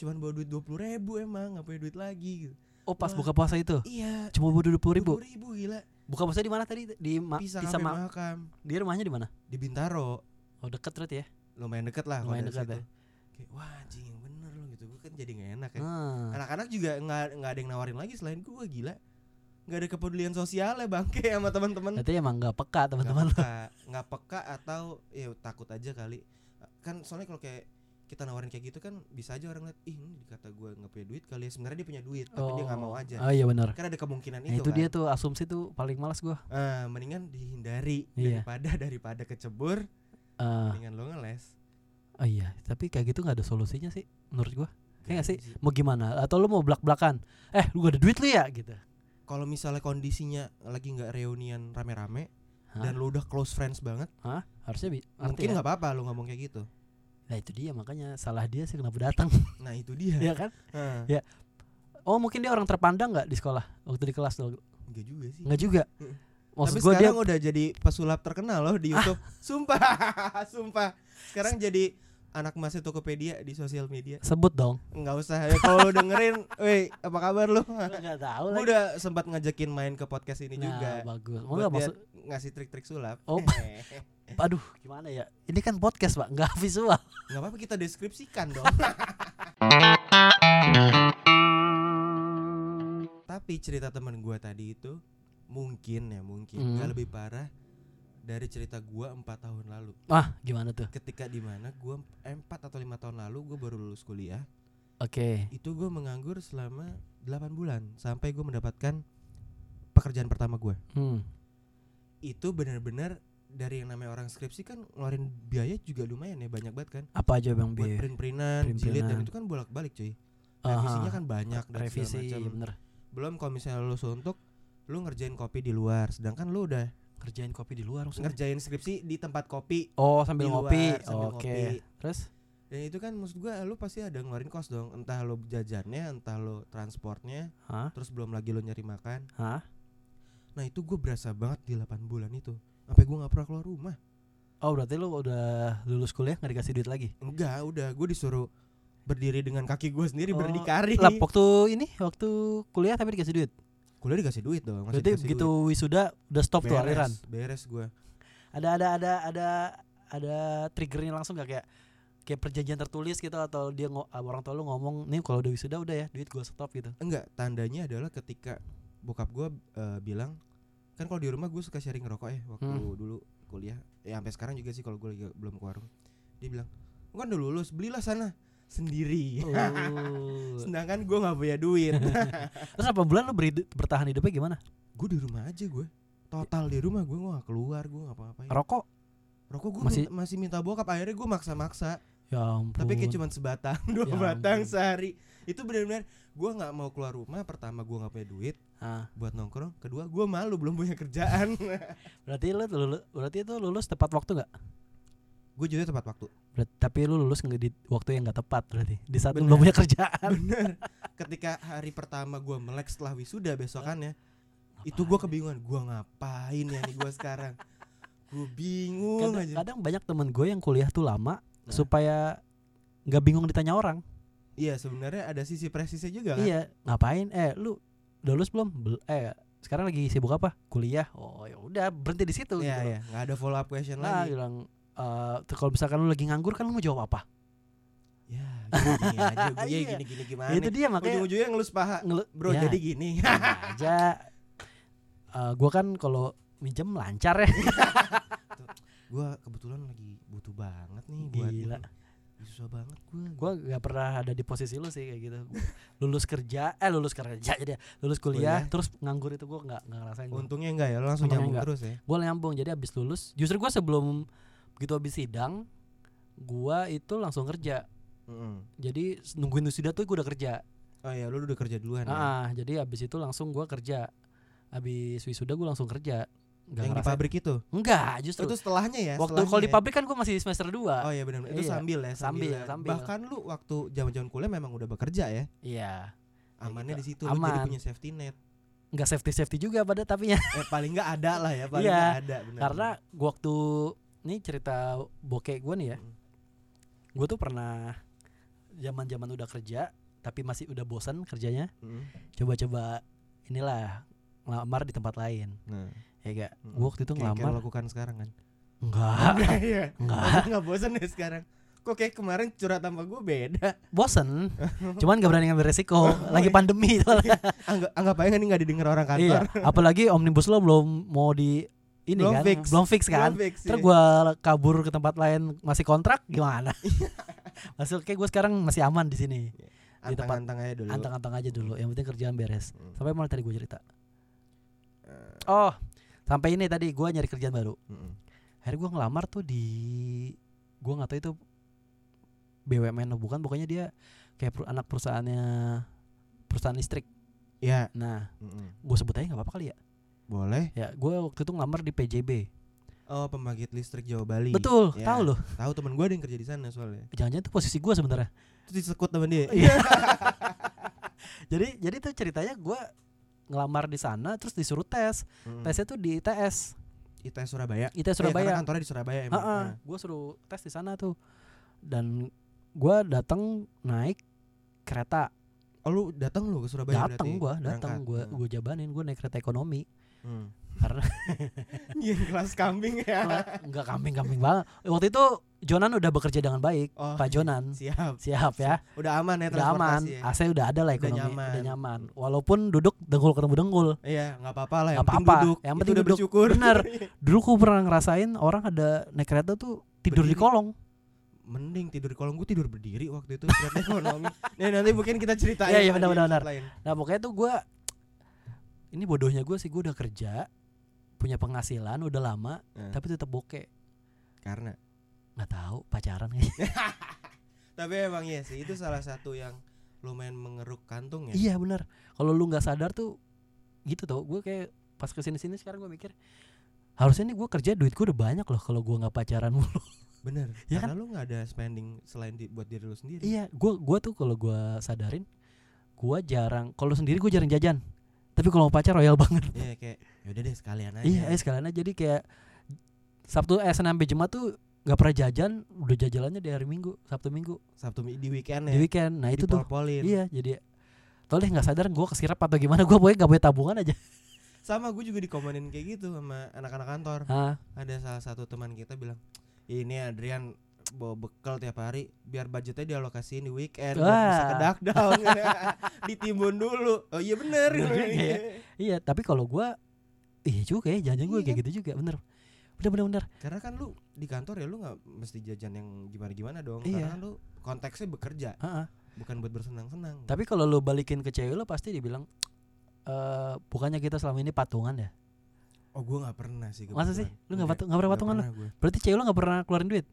[SPEAKER 2] cuman bawa duit dua ribu emang nggak punya duit lagi gitu.
[SPEAKER 1] Oh, pas
[SPEAKER 2] Wah.
[SPEAKER 1] buka puasa itu.
[SPEAKER 2] Iya.
[SPEAKER 1] Cuma butuh dua ribu.
[SPEAKER 2] ribu gila.
[SPEAKER 1] Buka puasa di mana tadi? Di ma
[SPEAKER 2] Pisang
[SPEAKER 1] Pisang
[SPEAKER 2] sampai
[SPEAKER 1] Ma-
[SPEAKER 2] makam
[SPEAKER 1] Dia rumahnya di mana?
[SPEAKER 2] di Bintaro.
[SPEAKER 1] Oh, deket berarti ya.
[SPEAKER 2] lumayan deket lah kalau
[SPEAKER 1] Lumayan
[SPEAKER 2] dari
[SPEAKER 1] deket
[SPEAKER 2] situ.
[SPEAKER 1] ya.
[SPEAKER 2] Kayak, wah anjing yang bener lo gitu gue kan jadi nggak enak ya
[SPEAKER 1] Hmm.
[SPEAKER 2] anak-anak juga nggak nggak ada yang nawarin lagi selain gue gila nggak ada kepedulian sosialnya bangke <laughs> sama teman-teman
[SPEAKER 1] Berarti emang nggak peka
[SPEAKER 2] Nggak
[SPEAKER 1] teman-teman.
[SPEAKER 2] peka nggak peka atau ya takut aja kali kan soalnya kalau kayak kita nawarin kayak gitu kan bisa aja orang lihat ih ini dikata gue nggak punya duit kali ya sebenarnya dia punya duit tapi dia nggak mau aja
[SPEAKER 1] Oh iya benar.
[SPEAKER 2] karena ada
[SPEAKER 1] Nah,
[SPEAKER 2] kemungkinan itu,
[SPEAKER 1] itu dia
[SPEAKER 2] kan.
[SPEAKER 1] tuh asumsi tuh paling malas gua.
[SPEAKER 2] Eh, mendingan dihindari
[SPEAKER 1] Iya.
[SPEAKER 2] daripada <laughs> daripada kecebur
[SPEAKER 1] Eh,
[SPEAKER 2] mendingan lo ngeles
[SPEAKER 1] oh iya, tapi kayak gitu nggak ada solusinya sih menurut gua. Iya nggak sih?
[SPEAKER 2] Gaji.
[SPEAKER 1] Mau gimana? Atau lu mau belak-belakan? Eh, lu gak ada duit lu ya gitu.
[SPEAKER 2] kalau misalnya kondisinya lagi nggak reunian rame-rame
[SPEAKER 1] Hah?
[SPEAKER 2] dan lu udah close friends banget,
[SPEAKER 1] Hah? Harusnya bi ngerti
[SPEAKER 2] mungkin
[SPEAKER 1] ya?
[SPEAKER 2] nggak apa-apa lu ngomong kayak gitu.
[SPEAKER 1] Nah, itu dia makanya salah dia sih kenapa datang. <laughs>
[SPEAKER 2] Nah itu dia.
[SPEAKER 1] ya kan?
[SPEAKER 2] Hah,
[SPEAKER 1] Oh, mungkin dia orang terpandang nggak di sekolah waktu di kelas tuh?
[SPEAKER 2] Enggak juga sih.
[SPEAKER 1] Nggak juga.
[SPEAKER 2] Heeh.
[SPEAKER 1] Maksud
[SPEAKER 2] Tapi
[SPEAKER 1] gua dia Ah.
[SPEAKER 2] sekarang udah jadi pesulap terkenal loh di YouTube. Sumpah, <laughs> sumpah. Sekarang jadi anak mas Tokopedia di sosial media.
[SPEAKER 1] sebut dong.
[SPEAKER 2] Nggak usah. Ya, kalau lu dengerin, <laughs> weh apa kabar lu?
[SPEAKER 1] Enggak tahu
[SPEAKER 2] Gua
[SPEAKER 1] lagi.
[SPEAKER 2] udah sempat ngajakin main ke podcast ini juga.
[SPEAKER 1] Nah, bagus. Oh,
[SPEAKER 2] Buat
[SPEAKER 1] nggak
[SPEAKER 2] dia
[SPEAKER 1] maksud
[SPEAKER 2] ngasih trik-trik sulap.
[SPEAKER 1] Oh.
[SPEAKER 2] <laughs> Nggak
[SPEAKER 1] aduh, gimana ya? Ini kan podcast, Pak, nggak <laughs> visual.
[SPEAKER 2] apa-apa kita deskripsikan dong. Tapi cerita teman gua tadi itu mungkin ya mungkin
[SPEAKER 1] Hmm.
[SPEAKER 2] nggak lebih parah dari cerita gua empat tahun lalu.
[SPEAKER 1] Wah, Ah, gimana tuh?
[SPEAKER 2] Ketika dimana gua eh, empat atau lima tahun lalu gua baru lulus kuliah,
[SPEAKER 1] Oke.
[SPEAKER 2] itu gua menganggur selama 8 bulan sampai gua mendapatkan pekerjaan pertama gua.
[SPEAKER 1] Hmm.
[SPEAKER 2] Itu benar-benar dari yang namanya orang skripsi kan ngeluarin biaya juga lumayan ya banyak banget kan
[SPEAKER 1] Apa aja Bang
[SPEAKER 2] buat
[SPEAKER 1] Bi?
[SPEAKER 2] print-printan, jilid
[SPEAKER 1] Iya, Print-printan.
[SPEAKER 2] dan itu kan bolak-balik cuy.
[SPEAKER 1] Aha.
[SPEAKER 2] Revisinya kan banyak dan
[SPEAKER 1] revisi
[SPEAKER 2] segala
[SPEAKER 1] iya
[SPEAKER 2] macam.
[SPEAKER 1] bener
[SPEAKER 2] Belum kalau misalnya lu suntuk, lu ngerjain kopi di luar, sedangkan lu udah
[SPEAKER 1] kerjain kopi di luar maksudnya.
[SPEAKER 2] ngerjain skripsi di tempat kopi
[SPEAKER 1] oh sambil
[SPEAKER 2] di
[SPEAKER 1] ngopi
[SPEAKER 2] luar, sambil
[SPEAKER 1] oke
[SPEAKER 2] ngopi.
[SPEAKER 1] terus
[SPEAKER 2] dan itu kan maksud gua lu pasti ada ngeluarin kos dong entah lu jajannya entah lu transportnya
[SPEAKER 1] Hah?
[SPEAKER 2] terus belum lagi lu nyari makan
[SPEAKER 1] Hah?
[SPEAKER 2] nah itu gue berasa banget di 8 bulan itu sampai gua nggak pernah keluar rumah
[SPEAKER 1] oh berarti lu udah lulus kuliah nggak dikasih duit lagi
[SPEAKER 2] enggak udah gue disuruh berdiri dengan kaki gua sendiri
[SPEAKER 1] Oh,
[SPEAKER 2] berdikari
[SPEAKER 1] lah waktu ini waktu kuliah tapi dikasih duit
[SPEAKER 2] kuliah dikasih duit dong masih
[SPEAKER 1] berarti
[SPEAKER 2] dikasih
[SPEAKER 1] begitu
[SPEAKER 2] duit.
[SPEAKER 1] wisuda udah stop tuh
[SPEAKER 2] beres,
[SPEAKER 1] aliran
[SPEAKER 2] beres gue
[SPEAKER 1] ada ada ada ada ada triggernya langsung gak kayak kayak perjanjian tertulis gitu atau dia ngo- orang tua lu ngomong nih kalau udah wisuda udah ya duit gua stop gitu
[SPEAKER 2] enggak tandanya adalah ketika bokap gua eh, bilang kan kalau di rumah gue suka sharing rokok ya waktu
[SPEAKER 1] Hmm.
[SPEAKER 2] dulu kuliah ya sampai sekarang juga sih kalau gue lagi belum ke warung dia bilang "Lu kan udah lulus belilah sana sendiri <laughs>
[SPEAKER 1] oh.
[SPEAKER 2] sedangkan gue nggak punya duit <laughs>
[SPEAKER 1] terus berapa bulan lu beri- bertahan hidupnya gimana
[SPEAKER 2] gue di rumah aja gue total di rumah gue gue gak keluar gue ngapa-ngapain
[SPEAKER 1] rokok
[SPEAKER 2] Iya. rokok gue
[SPEAKER 1] masih-
[SPEAKER 2] masih masih minta bokap akhirnya gue maksa-maksa
[SPEAKER 1] ya ampun
[SPEAKER 2] tapi kayak cuma sebatang <laughs> dua
[SPEAKER 1] Ya
[SPEAKER 2] batang
[SPEAKER 1] ampun.
[SPEAKER 2] sehari itu benar-benar gue nggak mau keluar rumah pertama gue nggak punya duit
[SPEAKER 1] Ah.
[SPEAKER 2] buat nongkrong kedua gue malu belum punya kerjaan <laughs>
[SPEAKER 1] Berarti lu lulu- berarti itu lulus tepat waktu nggak?
[SPEAKER 2] gue juga tepat waktu
[SPEAKER 1] Berat- tapi lu lulus nggak di waktu yang nggak tepat berarti di saat lu
[SPEAKER 2] Bener.
[SPEAKER 1] belum punya kerjaan
[SPEAKER 2] bener ketika hari pertama gua melek setelah wisuda besokannya <laughs> itu gua kebingungan gua ngapain ya nih gua sekarang gua bingung
[SPEAKER 1] kadang,
[SPEAKER 2] aja
[SPEAKER 1] kadang banyak temen gue yang kuliah tuh lama
[SPEAKER 2] Nah.
[SPEAKER 1] supaya nggak bingung ditanya orang
[SPEAKER 2] iya sebenarnya ada sisi presisnya juga kan
[SPEAKER 1] iya ngapain eh lu udah lulus belum Bel- eh sekarang lagi sibuk apa kuliah oh ya udah berhenti di situ
[SPEAKER 2] iya
[SPEAKER 1] gitu loh.
[SPEAKER 2] iya nggak ada follow up question
[SPEAKER 1] nah
[SPEAKER 2] lagi
[SPEAKER 1] bilang eh, tuh kalau misalkan lu lagi nganggur kan lu mau jawab apa
[SPEAKER 2] ya gua gini aja gua ya
[SPEAKER 1] Iya.
[SPEAKER 2] gini gini gimana
[SPEAKER 1] itu dia makanya
[SPEAKER 2] ujung-ujungnya ngelus paha
[SPEAKER 1] ngelu-
[SPEAKER 2] bro
[SPEAKER 1] Ya.
[SPEAKER 2] jadi gini
[SPEAKER 1] Tenang aja Eh, gua kan kalau minjem lancar ya
[SPEAKER 2] gua kebetulan lagi butuh banget nih buat
[SPEAKER 1] Gila.
[SPEAKER 2] ini. susah banget gua
[SPEAKER 1] gua nggak pernah ada di posisi lu sih kayak gitu lulus kerja eh lulus kerja jadi ya, lulus kuliah
[SPEAKER 2] Kuliah.
[SPEAKER 1] terus nganggur itu gua nggak nggak ngerasain gua.
[SPEAKER 2] untungnya enggak ya lo langsung
[SPEAKER 1] Untungnya
[SPEAKER 2] nyambung
[SPEAKER 1] enggak.
[SPEAKER 2] terus ya
[SPEAKER 1] Gua nyambung jadi abis lulus justru gua sebelum begitu abis sidang gua itu langsung kerja
[SPEAKER 2] Mm-mm.
[SPEAKER 1] jadi s- nungguin wisuda tuh gua udah kerja
[SPEAKER 2] oh ya lu udah kerja duluan ya
[SPEAKER 1] ah jadi abis itu langsung gua kerja abis wisuda gua langsung kerja nggak
[SPEAKER 2] yang di
[SPEAKER 1] ngerasain-
[SPEAKER 2] pabrik itu
[SPEAKER 1] enggak
[SPEAKER 2] Oh,
[SPEAKER 1] justru
[SPEAKER 2] itu setelahnya ya
[SPEAKER 1] waktu
[SPEAKER 2] setelahnya
[SPEAKER 1] kalau di
[SPEAKER 2] ya?
[SPEAKER 1] pabrik kan gua masih semester 2
[SPEAKER 2] Oh iya benar itu
[SPEAKER 1] Iya.
[SPEAKER 2] sambil ya
[SPEAKER 1] Sambil,
[SPEAKER 2] sambilan.
[SPEAKER 1] sambil.
[SPEAKER 2] Bahkan lu waktu zaman-zaman kuliah memang udah bekerja ya.
[SPEAKER 1] iya Ya
[SPEAKER 2] Amannya
[SPEAKER 1] gitu.
[SPEAKER 2] di situ lu jadi
[SPEAKER 1] Aman.
[SPEAKER 2] punya safety net.
[SPEAKER 1] nggak safety safety juga pada tapinya
[SPEAKER 2] Eh paling nggak ada lah ya, paling
[SPEAKER 1] Iya,
[SPEAKER 2] nggak ada benar.
[SPEAKER 1] karena gua waktu ini cerita bokek gue nih ya
[SPEAKER 2] Mm.
[SPEAKER 1] gue tuh pernah zaman zaman udah kerja tapi masih udah bosan kerjanya
[SPEAKER 2] Mm.
[SPEAKER 1] coba-coba inilah ngelamar di tempat lain
[SPEAKER 2] Nah,
[SPEAKER 1] ya gak
[SPEAKER 2] Mm.
[SPEAKER 1] gue waktu itu
[SPEAKER 2] kayak- kayak
[SPEAKER 1] ngelamar
[SPEAKER 2] lu lakukan sekarang kan.
[SPEAKER 1] <laughs> enggak
[SPEAKER 2] Iya.
[SPEAKER 1] enggak
[SPEAKER 2] Enggak bosan ya sekarang. Kok kayak kemarin curhat sama gue beda.
[SPEAKER 1] <laughs>
[SPEAKER 2] <laughs>
[SPEAKER 1] bosen cuman gak berani ngambil resiko lagi pandemi itu
[SPEAKER 2] Iya. Anggap anggap aja nih nggak didengar orang
[SPEAKER 1] iya
[SPEAKER 2] kantor.
[SPEAKER 1] apalagi omnibus law belum mau di ini
[SPEAKER 2] Belum
[SPEAKER 1] kan
[SPEAKER 2] fix.
[SPEAKER 1] belum fix kan
[SPEAKER 2] Belum fix,
[SPEAKER 1] Ntar
[SPEAKER 2] iya.
[SPEAKER 1] gue kabur ke tempat lain masih kontrak
[SPEAKER 2] <laughs>
[SPEAKER 1] gimana? Maksudnya gue sekarang masih aman di sini. di tempat-
[SPEAKER 2] antang-antang aja dulu.
[SPEAKER 1] Antang-antang aja dulu. Yang penting kerjaan beres.
[SPEAKER 2] Mm.
[SPEAKER 1] Sampai mana tadi gue cerita?
[SPEAKER 2] Eh,
[SPEAKER 1] Oh, sampai ini tadi gue nyari kerjaan baru.
[SPEAKER 2] mm-mm.
[SPEAKER 1] Akhirnya gue ngelamar tuh di gue nggak tahu itu BUMN atau bukan. Pokoknya dia kayak per- anak perusahaannya perusahaan listrik.
[SPEAKER 2] Iya,
[SPEAKER 1] Nah,
[SPEAKER 2] mm-mm.
[SPEAKER 1] gue sebut aja nggak apa-apa kali ya.
[SPEAKER 2] boleh.
[SPEAKER 1] Ya, gue waktu itu ngelamar di PJB.
[SPEAKER 2] Oh, pembangkit listrik Jawa Bali.
[SPEAKER 1] Betul,
[SPEAKER 2] Iya.
[SPEAKER 1] tahu loh.
[SPEAKER 2] Tahu teman gue ada yang kerja di sana soalnya.
[SPEAKER 1] Jangan-jangan itu posisi gue sebenarnya.
[SPEAKER 2] Itu disekut temen
[SPEAKER 1] <laughs>
[SPEAKER 2] dia.
[SPEAKER 1] Iya. jadi jadi tuh ceritanya gua ngelamar di sana terus disuruh tes.
[SPEAKER 2] Mm-mm.
[SPEAKER 1] Tesnya tuh di ITS,
[SPEAKER 2] ITS Surabaya.
[SPEAKER 1] ITS
[SPEAKER 2] Iya, karena
[SPEAKER 1] Surabaya.
[SPEAKER 2] kantornya di Surabaya
[SPEAKER 1] Heeh,
[SPEAKER 2] emang. Nah.
[SPEAKER 1] gua suruh tes di sana tuh. Dan gua datang naik kereta.
[SPEAKER 2] Nah. Oh, lu datang lu ke Surabaya
[SPEAKER 1] Datang
[SPEAKER 2] berarti?
[SPEAKER 1] gua, datang
[SPEAKER 2] Berangkat.
[SPEAKER 1] gua,
[SPEAKER 2] Hmm.
[SPEAKER 1] gua jabanin gua naik kereta
[SPEAKER 2] <laughs>
[SPEAKER 1] ekonomi.
[SPEAKER 2] Hmm.
[SPEAKER 1] Karena
[SPEAKER 2] <laughs> Iya, kelas kambing ya.
[SPEAKER 1] enggak kambing-kambing banget. Waktu itu Jonan udah bekerja dengan baik,
[SPEAKER 2] Oh,
[SPEAKER 1] Pak Jonan.
[SPEAKER 2] siap.
[SPEAKER 1] Siap ya,
[SPEAKER 2] Udah aman ya
[SPEAKER 1] udah aman,
[SPEAKER 2] transportasi ya.
[SPEAKER 1] AC udah ada lah
[SPEAKER 2] Udah
[SPEAKER 1] ekonomi,
[SPEAKER 2] nyaman.
[SPEAKER 1] udah nyaman. Walaupun duduk dengkul ketemu dengkul,
[SPEAKER 2] <laughs> Iya, enggak apa-apa lah yang
[SPEAKER 1] Nggak
[SPEAKER 2] penting
[SPEAKER 1] apa-apa,
[SPEAKER 2] duduk.
[SPEAKER 1] yang
[SPEAKER 2] Itu
[SPEAKER 1] penting
[SPEAKER 2] udah
[SPEAKER 1] duduk.
[SPEAKER 2] bersyukur.
[SPEAKER 1] Bener.
[SPEAKER 2] Iya.
[SPEAKER 1] Dulu gue pernah ngerasain orang ada naik kereta tuh tidur di
[SPEAKER 2] Berdiri.
[SPEAKER 1] kolong.
[SPEAKER 2] Mending tidur di kolong gua tidur berdiri waktu itu ternyata
[SPEAKER 1] <laughs>
[SPEAKER 2] ekonomi. Nih, nanti mungkin kita ceritain.
[SPEAKER 1] Iya, iya,
[SPEAKER 2] sama
[SPEAKER 1] benar,
[SPEAKER 2] di
[SPEAKER 1] benar,
[SPEAKER 2] episode
[SPEAKER 1] benar.
[SPEAKER 2] lain.
[SPEAKER 1] Nah pokoknya tuh gue ini bodohnya gue sih gue udah kerja punya penghasilan udah lama
[SPEAKER 2] Eh.
[SPEAKER 1] tapi tetap bokeh
[SPEAKER 2] Karena
[SPEAKER 1] nggak tahu pacaran kayaknya.
[SPEAKER 2] tapi emang iya sih itu salah satu yang lumayan mengeruk kantung ya.
[SPEAKER 1] iya benar kalau lu nggak sadar tuh gitu tau gue kayak pas kesini sini sekarang gue mikir harusnya nih gue kerja duit gue udah banyak loh kalau gue nggak pacaran mulu
[SPEAKER 2] Bener.
[SPEAKER 1] Iya
[SPEAKER 2] Karena lu nggak ada spending selain di, buat diri lu sendiri.
[SPEAKER 1] iya gue <laughs> gua tuh kalau gue sadarin gue jarang kalau sendiri gue jarang jajan tapi kalau sama pacar royal banget
[SPEAKER 2] Iya kayak yaudah deh sekalian
[SPEAKER 1] Nah,
[SPEAKER 2] aja.
[SPEAKER 1] Iya, eh, sekalian aja jadi kayak Sabtu eh Senin sampai Jumat tuh nggak pernah jajan, udah jajalannya di hari Minggu, Sabtu Minggu,
[SPEAKER 2] Sabtu mi- di weekend ya.
[SPEAKER 1] di weekend. Nah, itu tuh.
[SPEAKER 2] dipol-polin.
[SPEAKER 1] Iya, jadi toleh nggak sadar gue kesirap atau gimana gue pokoknya nggak punya tabungan aja
[SPEAKER 2] Sama gue juga dikomenin kayak gitu sama anak-anak kantor.
[SPEAKER 1] Hah,
[SPEAKER 2] Ada salah satu teman kita bilang, "Ini Adrian bawa bekal tiap hari biar budgetnya dialokasiin di weekend biar bisa
[SPEAKER 1] Wah.
[SPEAKER 2] ke duck down <laughs> ditimbun dulu oh iya bener
[SPEAKER 1] Bener juga ya. iya tapi kalau gue iya juga ya jajan gue
[SPEAKER 2] Iya
[SPEAKER 1] kayak gitu juga bener bener bener bener
[SPEAKER 2] karena kan lu di kantor ya lu nggak mesti jajan yang gimana gimana dong
[SPEAKER 1] Iya.
[SPEAKER 2] karena kan lu konteksnya bekerja
[SPEAKER 1] Heeh.
[SPEAKER 2] bukan buat bersenang-senang
[SPEAKER 1] tapi kalau lo balikin ke cewek lo pasti dibilang eh bukannya kita selama ini patungan ya
[SPEAKER 2] oh gue nggak pernah sih
[SPEAKER 1] masa sih lu
[SPEAKER 2] kebetulan.
[SPEAKER 1] nggak
[SPEAKER 2] Nggak-
[SPEAKER 1] patung nggak pernah
[SPEAKER 2] nggak
[SPEAKER 1] patungan lo
[SPEAKER 2] pernah gua.
[SPEAKER 1] berarti cewek lo nggak pernah keluarin duit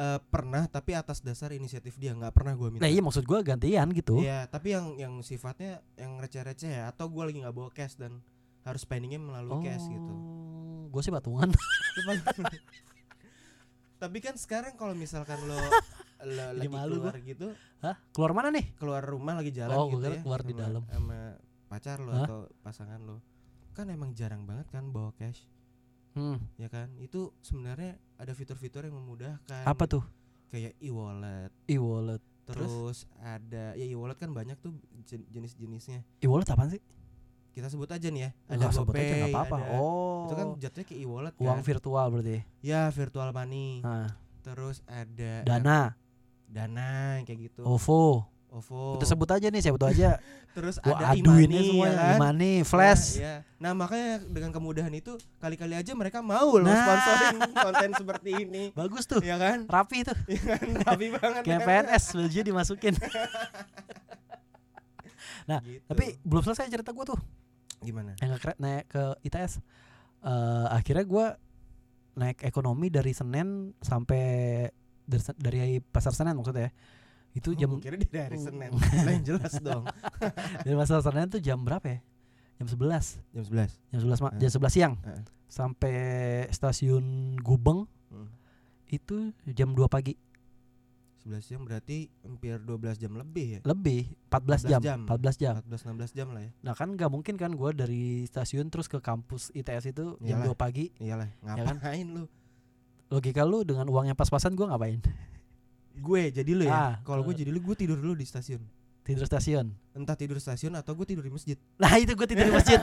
[SPEAKER 2] Eh, pernah tapi atas dasar inisiatif dia nggak pernah gue minta
[SPEAKER 1] nah iya maksud gue gantian gitu
[SPEAKER 2] Iya, tapi yang yang sifatnya yang receh-receh ya atau gue lagi nggak bawa cash dan
[SPEAKER 1] Oh.
[SPEAKER 2] harus gitu. spendingnya melalui cash gitu.
[SPEAKER 1] gue sih patungan
[SPEAKER 2] Itu paling- <laughs> Tapi kan sekarang kalau misalkan
[SPEAKER 1] <laughs>
[SPEAKER 2] lo, lo
[SPEAKER 1] Jadi
[SPEAKER 2] lagi
[SPEAKER 1] malu
[SPEAKER 2] keluar gitu,
[SPEAKER 1] Hah? <laughs> Keluar mana nih?
[SPEAKER 2] keluar rumah lagi jalan
[SPEAKER 1] Oh,
[SPEAKER 2] gitu
[SPEAKER 1] gua kira
[SPEAKER 2] ya.
[SPEAKER 1] keluar di
[SPEAKER 2] sama-
[SPEAKER 1] dalam.
[SPEAKER 2] Sama pacar lo
[SPEAKER 1] Hah?
[SPEAKER 2] atau pasangan lo. Kan emang jarang banget kan bawa cash,
[SPEAKER 1] Hmm,
[SPEAKER 2] ya kan? Itu sebenarnya ada fitur-fitur yang memudahkan.
[SPEAKER 1] apa tuh?
[SPEAKER 2] Kayak e-wallet.
[SPEAKER 1] E-wallet.
[SPEAKER 2] Terus, ada ya e-wallet kan banyak tuh jen- jenis-jenisnya.
[SPEAKER 1] E-wallet apaan sih?
[SPEAKER 2] Kita sebut aja nih ya. Ada
[SPEAKER 1] Enggak sebut aja
[SPEAKER 2] GoPay,
[SPEAKER 1] enggak apa-apa.
[SPEAKER 2] ada-
[SPEAKER 1] Oh.
[SPEAKER 2] Itu kan jatuhnya ke e-wallet kan.
[SPEAKER 1] uang virtual berarti.
[SPEAKER 2] ya, virtual money.
[SPEAKER 1] Nah,
[SPEAKER 2] Terus ada
[SPEAKER 1] Dana, Oh.
[SPEAKER 2] Dana yang kayak gitu.
[SPEAKER 1] OVO.
[SPEAKER 2] OVO.
[SPEAKER 1] Kita sebut aja nih, sebut aja.
[SPEAKER 2] Terus
[SPEAKER 1] Gua
[SPEAKER 2] ada
[SPEAKER 1] aduin
[SPEAKER 2] imani
[SPEAKER 1] nih semuanya.
[SPEAKER 2] semua ya kan?
[SPEAKER 1] Imani, flash.
[SPEAKER 2] Nah, iya. Nah, makanya dengan kemudahan itu kali-kali aja mereka mau loh
[SPEAKER 1] Nah.
[SPEAKER 2] sponsorin konten seperti
[SPEAKER 1] <laughs>
[SPEAKER 2] ini.
[SPEAKER 1] Bagus tuh.
[SPEAKER 2] Iya kan?
[SPEAKER 1] Rapi tuh.
[SPEAKER 2] Iya
[SPEAKER 1] <laughs>
[SPEAKER 2] kan? Rapi banget.
[SPEAKER 1] Kayak
[SPEAKER 2] kan?
[SPEAKER 1] PNS bajunya dimasukin.
[SPEAKER 2] Gitu.
[SPEAKER 1] <laughs> Tapi belum selesai cerita gue tuh.
[SPEAKER 2] gimana?
[SPEAKER 1] yang naik, naik ke ITS Eh, akhirnya gua naik ekonomi dari Senin sampai dari, Sen- dari pasar Senen maksudnya ya. itu
[SPEAKER 2] Tuh
[SPEAKER 1] jam
[SPEAKER 2] kira dia dari
[SPEAKER 1] Mm.
[SPEAKER 2] Senin. Lah yang
[SPEAKER 1] <laughs>
[SPEAKER 2] jelas dong.
[SPEAKER 1] dari pasar Senen tuh jam berapa ya jam 11
[SPEAKER 2] Jam 11.
[SPEAKER 1] jam 11 ma-
[SPEAKER 2] Heeh.
[SPEAKER 1] jam 11 siang
[SPEAKER 2] Heeh.
[SPEAKER 1] sampai stasiun Gubeng
[SPEAKER 2] Hmm.
[SPEAKER 1] itu jam 2 pagi
[SPEAKER 2] 11 siang berarti hampir 12 jam
[SPEAKER 1] Iya.
[SPEAKER 2] lebih ya.
[SPEAKER 1] lebih 14
[SPEAKER 2] 14
[SPEAKER 1] jam,
[SPEAKER 2] jam.
[SPEAKER 1] 14 jam
[SPEAKER 2] 14 16 jam lah ya.
[SPEAKER 1] nah kan nggak mungkin kan gua dari stasiun terus ke kampus ITS itu jam
[SPEAKER 2] Iyalah.
[SPEAKER 1] 2 pagi
[SPEAKER 2] Iyalah,
[SPEAKER 1] kan?
[SPEAKER 2] ngapain lu?
[SPEAKER 1] logika lu dengan uang yang pas-pasan gua ngapain <laughs>
[SPEAKER 2] Gue jadi lu
[SPEAKER 1] Ah,
[SPEAKER 2] ya. Kalau gue
[SPEAKER 1] eh.
[SPEAKER 2] jadi lu, gue tidur dulu di stasiun.
[SPEAKER 1] tidur stasiun
[SPEAKER 2] Entah tidur stasiun atau gue tidur di masjid.
[SPEAKER 1] nah itu gue tidur di <laughs> masjid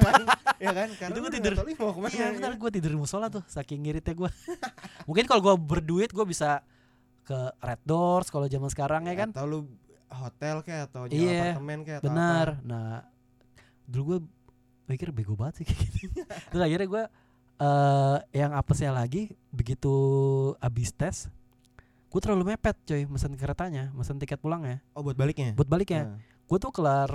[SPEAKER 2] ya kan? Karena
[SPEAKER 1] Itu gue
[SPEAKER 2] lu nggak
[SPEAKER 1] tidur.
[SPEAKER 2] tahu lu mau
[SPEAKER 1] <laughs>
[SPEAKER 2] kemana.
[SPEAKER 1] Iya
[SPEAKER 2] ya
[SPEAKER 1] benar
[SPEAKER 2] kan?
[SPEAKER 1] gue tidur di musola tuh saking ngiritnya gue. <laughs> Mungkin kalau gue berduit gue bisa ke Red Doors kalau zaman sekarang ya kan.
[SPEAKER 2] Atau lu hotel kayak atau nyewa
[SPEAKER 1] Iya,
[SPEAKER 2] apartemen kayak atau apa.
[SPEAKER 1] Benar. Nah dulu gue pikir bego banget sih kayak gitu. <laughs> Terus akhirnya gue eh yang apesnya lagi begitu abis tes gue terlalu mepet coy mesen keretanya mesen tiket ya. pulangnya
[SPEAKER 2] Oh buat baliknya.
[SPEAKER 1] buat baliknya
[SPEAKER 2] Nah,
[SPEAKER 1] gue tuh kelar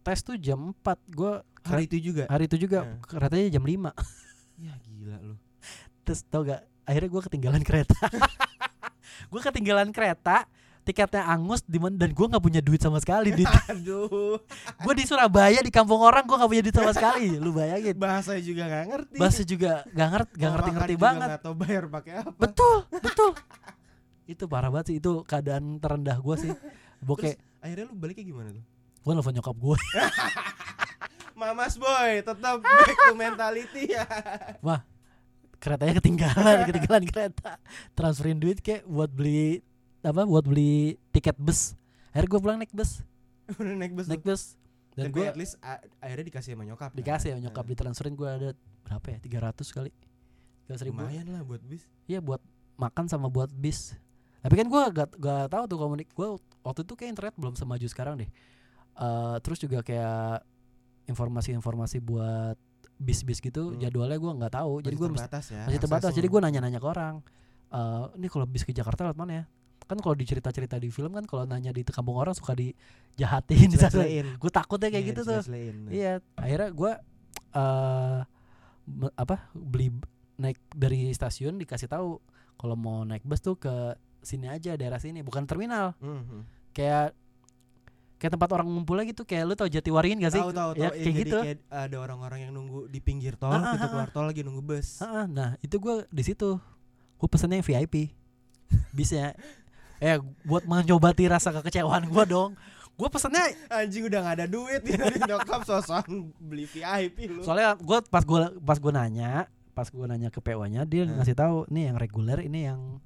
[SPEAKER 1] tes tuh jam 4 gue
[SPEAKER 2] hari itu juga.
[SPEAKER 1] hari itu juga
[SPEAKER 2] Nah.
[SPEAKER 1] keretanya jam 5 Iya,
[SPEAKER 2] Ya gila lu.
[SPEAKER 1] <laughs> terus tau gak akhirnya gue ketinggalan kereta <laughs> gue ketinggalan kereta tiketnya angus di mana- dan gue nggak punya duit sama sekali di
[SPEAKER 2] Aduh,
[SPEAKER 1] gue di Surabaya di kampung orang gue nggak punya duit sama sekali lu bayangin
[SPEAKER 2] bahasa juga gak ngerti.
[SPEAKER 1] bahasa juga gak ngerti
[SPEAKER 2] Oh,
[SPEAKER 1] gak ngerti ngerti banget
[SPEAKER 2] Atau bayar pakai apa?
[SPEAKER 1] betul betul itu parah banget sih itu keadaan terendah gue sih
[SPEAKER 2] Terus
[SPEAKER 1] Bokeh
[SPEAKER 2] akhirnya lu baliknya gimana tuh?
[SPEAKER 1] gue nelfon nyokap gue
[SPEAKER 2] Mamas boy, tetap back to mentality ya. <laughs>
[SPEAKER 1] keretanya ketinggalan ketinggalan kereta transferin duit kayak buat beli apa buat beli tiket bus akhirnya gue pulang naik bus
[SPEAKER 2] Udah naik bus.
[SPEAKER 1] naik
[SPEAKER 2] Naik
[SPEAKER 1] bus dan
[SPEAKER 2] Tapi
[SPEAKER 1] gue
[SPEAKER 2] at least a- akhirnya dikasih sama nyokap. kan?
[SPEAKER 1] dikasih ya nyokap
[SPEAKER 2] Nah,
[SPEAKER 1] ditransferin gue ada berapa ya 300 kali 300 ribu
[SPEAKER 2] Lumayan lah buat bis.
[SPEAKER 1] iya buat makan sama buat bis tapi kan gue gak, gak tahu tuh komunik gue waktu itu kayak internet belum semaju sekarang deh Eh terus juga kayak informasi-informasi buat bis-bis gitu
[SPEAKER 2] Hmm.
[SPEAKER 1] jadwalnya gue nggak tahu jadi
[SPEAKER 2] Masih
[SPEAKER 1] gue mesti-
[SPEAKER 2] terbatas ya.
[SPEAKER 1] masih terbatas
[SPEAKER 2] aksesnya.
[SPEAKER 1] jadi gue nanya-nanya ke orang Eh ini kalau bis ke Jakarta lewat mana ya kan kalau di cerita-cerita di film kan kalau nanya di kampung orang suka dijahatin di <laughs>
[SPEAKER 2] Diselesaiin.
[SPEAKER 1] gue takutnya kayak
[SPEAKER 2] Iya,
[SPEAKER 1] gitu tuh
[SPEAKER 2] diselesaiin. Nah.
[SPEAKER 1] Iya, akhirnya gua eh be- apa beli b- naik dari stasiun dikasih tahu kalau mau naik bus tuh ke sini aja daerah sini, bukan terminal.
[SPEAKER 2] Mhm.
[SPEAKER 1] Kayak kayak tempat orang ngumpul lagi tuh kayak lu tau Jatiwaringin gak sih?
[SPEAKER 2] Tahu tahu
[SPEAKER 1] Ya,
[SPEAKER 2] tahu.
[SPEAKER 1] kayak gitu.
[SPEAKER 2] Kayak ada orang-orang yang nunggu di pinggir tol,
[SPEAKER 1] Ah, ah,
[SPEAKER 2] gitu
[SPEAKER 1] ah,
[SPEAKER 2] keluar tol lagi nunggu bus.
[SPEAKER 1] Heeh, nah, itu gua di situ. Gua pesennya yang VIP. Bisnya eh buat menyobati rasa kekecewaan gua dong. Gua pesennya
[SPEAKER 2] Anjing udah gak ada duit
[SPEAKER 1] <laughs>
[SPEAKER 2] Jadi nyokap sosokan beli VIP lu
[SPEAKER 1] soalnya gue pas gue pas gue nanya pas gue nanya ke PO nya dia
[SPEAKER 2] Hmm.
[SPEAKER 1] ngasih tahu nih yang reguler ini yang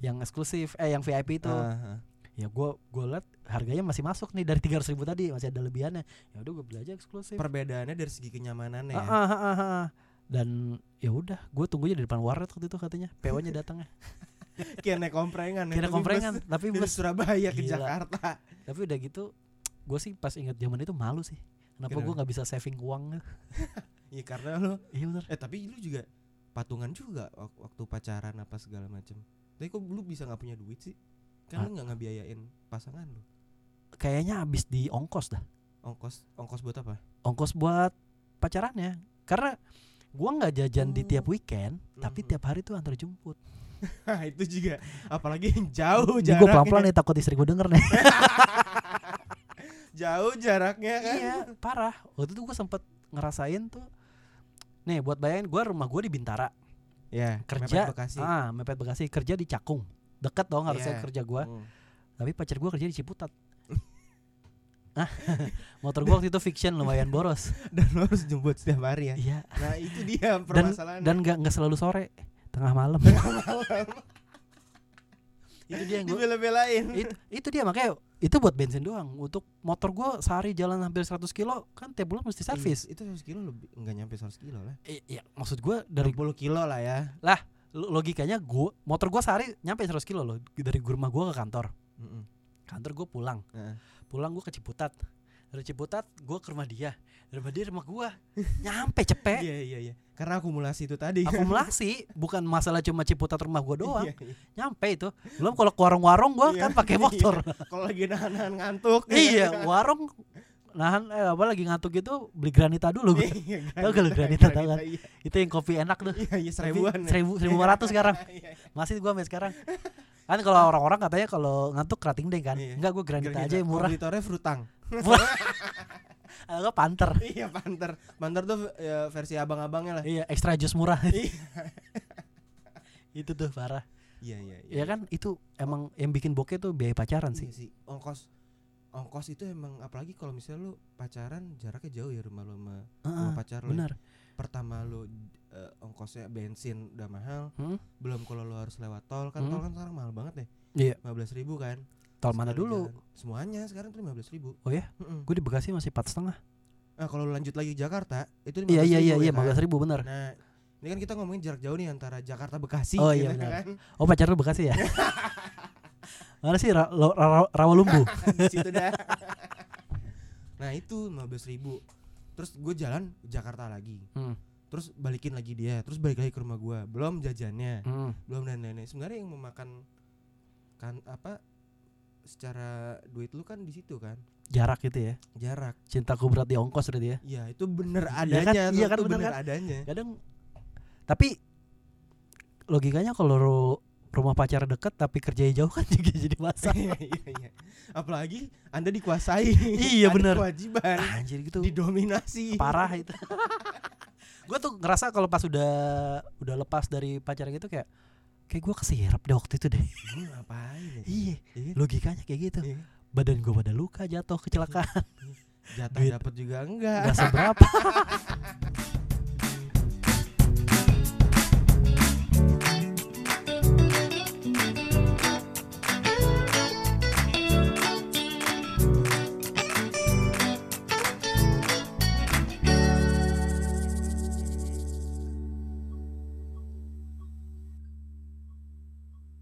[SPEAKER 1] yang eksklusif eh yang VIP itu
[SPEAKER 2] Ah, ah.
[SPEAKER 1] ya gue gue liat harganya masih masuk nih dari tiga ribu tadi masih ada lebihannya ya udah gue beli aja eksklusif
[SPEAKER 2] Perbedaannya dari segi kenyamanannya
[SPEAKER 1] Ah,
[SPEAKER 2] ya
[SPEAKER 1] ah, ah, ah, ah. dan ya udah gue tunggunya di depan warnet waktu itu katanya PO nya datang ya
[SPEAKER 2] Kayak naik komprengan ya,
[SPEAKER 1] kira
[SPEAKER 2] tapi
[SPEAKER 1] komprengan
[SPEAKER 2] bus
[SPEAKER 1] tapi
[SPEAKER 2] Dari
[SPEAKER 1] bus
[SPEAKER 2] Surabaya ke
[SPEAKER 1] Gila.
[SPEAKER 2] Jakarta
[SPEAKER 1] tapi udah gitu gue sih pas ingat zaman itu malu sih kenapa
[SPEAKER 2] Kenapa?
[SPEAKER 1] gue nggak bisa saving uang <laughs>
[SPEAKER 2] Iya karena lu
[SPEAKER 1] iya bener
[SPEAKER 2] Eh tapi lu juga patungan juga wak- Waktu pacaran apa segala macem Tapi kok lu bisa gak punya duit sih
[SPEAKER 1] Ah.
[SPEAKER 2] Kan lu gak ngebiayain pasangan lu
[SPEAKER 1] kayaknya habis di ongkos dah
[SPEAKER 2] Ongkos ongkos buat apa?
[SPEAKER 1] ongkos buat pacarannya karena gua nggak jajan di
[SPEAKER 2] Oh.
[SPEAKER 1] tiap weekend tapi
[SPEAKER 2] Mhm.
[SPEAKER 1] tiap hari tuh antar jemput
[SPEAKER 2] Hah, itu juga apalagi yang jauh
[SPEAKER 1] gue pelan pelan
[SPEAKER 2] jaraknya
[SPEAKER 1] nih takut istri gue denger
[SPEAKER 2] <laughs>
[SPEAKER 1] nih
[SPEAKER 2] jauh jaraknya kan
[SPEAKER 1] iya parah waktu itu gue sempet ngerasain tuh nih buat bayangin gua rumah gue di Bintara
[SPEAKER 2] Ya,
[SPEAKER 1] Kerja,
[SPEAKER 2] Mepet Bekasi.
[SPEAKER 1] ah mepet bekasi kerja di cakung deket dong harusnya
[SPEAKER 2] Iya.
[SPEAKER 1] kerja
[SPEAKER 2] <laughs>
[SPEAKER 1] gua
[SPEAKER 2] Hmm.
[SPEAKER 1] tapi pacar gua kerja di
[SPEAKER 2] <laughs>
[SPEAKER 1] ciputat ah <laughs> motor gua waktu itu fiction lumayan boros
[SPEAKER 2] Dan lo harus jemput setiap hari ya.
[SPEAKER 1] iya
[SPEAKER 2] Nah, itu dia
[SPEAKER 1] dan
[SPEAKER 2] permasalahan.
[SPEAKER 1] dan nggak nggak selalu sore tengah malam <laughs> itu dia yang gua
[SPEAKER 2] dibela-belain.
[SPEAKER 1] itu, itu dia makanya itu buat bensin doang untuk motor gua sehari jalan hampir 100 kilo kan tiap bulan mesti servis
[SPEAKER 2] Itu 100 kilo lebih enggak nyampe 100 kilo lah.
[SPEAKER 1] I- iya maksud gua dari
[SPEAKER 2] 60 kilo lah ya.
[SPEAKER 1] lo- logikanya gua motor gua sehari nyampe 100 kilo loh dari gua- rumah gua ke kantor
[SPEAKER 2] Mm-mm.
[SPEAKER 1] kantor gua pulang
[SPEAKER 2] Heeh.
[SPEAKER 1] pulang gua ke Ciputat dari Ciputat gua ke rumah dia dari rumah dia rumah gua nyampe cepet
[SPEAKER 2] Iya iya iya. Karena akumulasi itu
[SPEAKER 1] iya.
[SPEAKER 2] tadi. kan.
[SPEAKER 1] akumulasi bukan masalah cuma Ciputat rumah gua doang
[SPEAKER 2] Iya, iya.
[SPEAKER 1] nyampe itu belum kalau ke warung-warung gua
[SPEAKER 2] Iya.
[SPEAKER 1] kan
[SPEAKER 2] <laughs>
[SPEAKER 1] pakai motor
[SPEAKER 2] Kalau lagi nahan-nahan ngantuk.
[SPEAKER 1] iya warung nahan eh, apa lagi ngantuk gitu beli granita dulu gua.
[SPEAKER 2] Iya,
[SPEAKER 1] Tau gak lu granita, tau kan?
[SPEAKER 2] Iya
[SPEAKER 1] itu yang kopi enak tuh
[SPEAKER 2] iya, iya <laughs> seribuan. ya.
[SPEAKER 1] seribu seribu lima ratus sekarang
[SPEAKER 2] Iya, iya.
[SPEAKER 1] masih gua sampai sekarang kan kalau orang-orang katanya kalau ngantuk kerating deh kan
[SPEAKER 2] Iya.
[SPEAKER 1] enggak gua granita aja yang murah
[SPEAKER 2] Komoditornya frutang.
[SPEAKER 1] Ah, gua panter
[SPEAKER 2] Iya, panter. Panter tuh ya, versi abang-abangnya lah.
[SPEAKER 1] iya extra jus murah
[SPEAKER 2] Iya.
[SPEAKER 1] <laughs>
[SPEAKER 2] <laughs>
[SPEAKER 1] itu tuh parah
[SPEAKER 2] Iya iya
[SPEAKER 1] ya kan itu emang yang bikin bokeh tuh biaya pacaran
[SPEAKER 2] sih.
[SPEAKER 1] sih
[SPEAKER 2] Iya sih. Ongkos ongkos itu emang apalagi kalau misalnya lu pacaran jaraknya jauh ya rumah lu sama,
[SPEAKER 1] Heeh,
[SPEAKER 2] sama pacar lu.
[SPEAKER 1] Ah,
[SPEAKER 2] ya.
[SPEAKER 1] benar
[SPEAKER 2] Pertama lu eh, ongkosnya bensin udah mahal,
[SPEAKER 1] Hmm?
[SPEAKER 2] belum kalau lu harus lewat tol kan
[SPEAKER 1] Hmm.
[SPEAKER 2] tol kan sekarang mahal banget ya.
[SPEAKER 1] Iya.
[SPEAKER 2] 15 ribu kan.
[SPEAKER 1] tol mana
[SPEAKER 2] sekali
[SPEAKER 1] dulu
[SPEAKER 2] jalan. Semuanya sekarang tuh 15 ribu.
[SPEAKER 1] Oh ya? gue di bekasi masih empat setengah
[SPEAKER 2] Nah, kalau lu lanjut lagi ke Jakarta itu 15
[SPEAKER 1] iya iya iya
[SPEAKER 2] ribu,
[SPEAKER 1] iya
[SPEAKER 2] ya kan?
[SPEAKER 1] belas ribu benar
[SPEAKER 2] Nah, ini kan kita ngomongin jarak jauh nih antara Jakarta Bekasi
[SPEAKER 1] Oh, iya, benar.
[SPEAKER 2] kan.
[SPEAKER 1] oh pacar lu bekasi <laughs> ya mana sih Ra- Lo- Ra- Ra- rawalumbu
[SPEAKER 2] Kan, Di situ dah. <laughs> nah, itu 15 ribu Terus gue jalan ke Jakarta lagi.
[SPEAKER 1] Hmm,
[SPEAKER 2] Terus balikin lagi dia, terus balik lagi ke rumah gua. Belum jajannya,
[SPEAKER 1] hmm.
[SPEAKER 2] belum dan lain-lain. Sebenarnya yang memakan kan apa secara duit lu kan di situ kan.
[SPEAKER 1] jarak gitu ya
[SPEAKER 2] Jarak.
[SPEAKER 1] cintaku berat di ongkos berarti ya
[SPEAKER 2] Ya, itu bener
[SPEAKER 1] Iya kan?
[SPEAKER 2] adanya.
[SPEAKER 1] Iya kan,
[SPEAKER 2] itu
[SPEAKER 1] bener
[SPEAKER 2] bener
[SPEAKER 1] kan?
[SPEAKER 2] adanya. <laughs>
[SPEAKER 1] kadang tapi logikanya kalau ru- rumah pacar deket tapi kerjanya jauh kan <laughs> juga jadi masalah
[SPEAKER 2] Iya, iya, iya. Apalagi Anda dikuasai.
[SPEAKER 1] Iya,
[SPEAKER 2] <laughs> Ada
[SPEAKER 1] bener.
[SPEAKER 2] Kewajiban
[SPEAKER 1] anjir gitu
[SPEAKER 2] didominasi.
[SPEAKER 1] parah itu <laughs> gue tuh ngerasa kalau pas udah udah lepas dari pacar gitu kayak kayak gue kesirap deh waktu itu deh
[SPEAKER 2] Gua ngapain ya?
[SPEAKER 1] iya
[SPEAKER 2] Iya.
[SPEAKER 1] logikanya kayak gitu
[SPEAKER 2] Iya.
[SPEAKER 1] badan <laughs> gue pada luka jatuh kecelakaan
[SPEAKER 2] Jatah
[SPEAKER 1] Duit. Iya.
[SPEAKER 2] dapat juga
[SPEAKER 1] nggak
[SPEAKER 2] enggak.
[SPEAKER 1] seberapa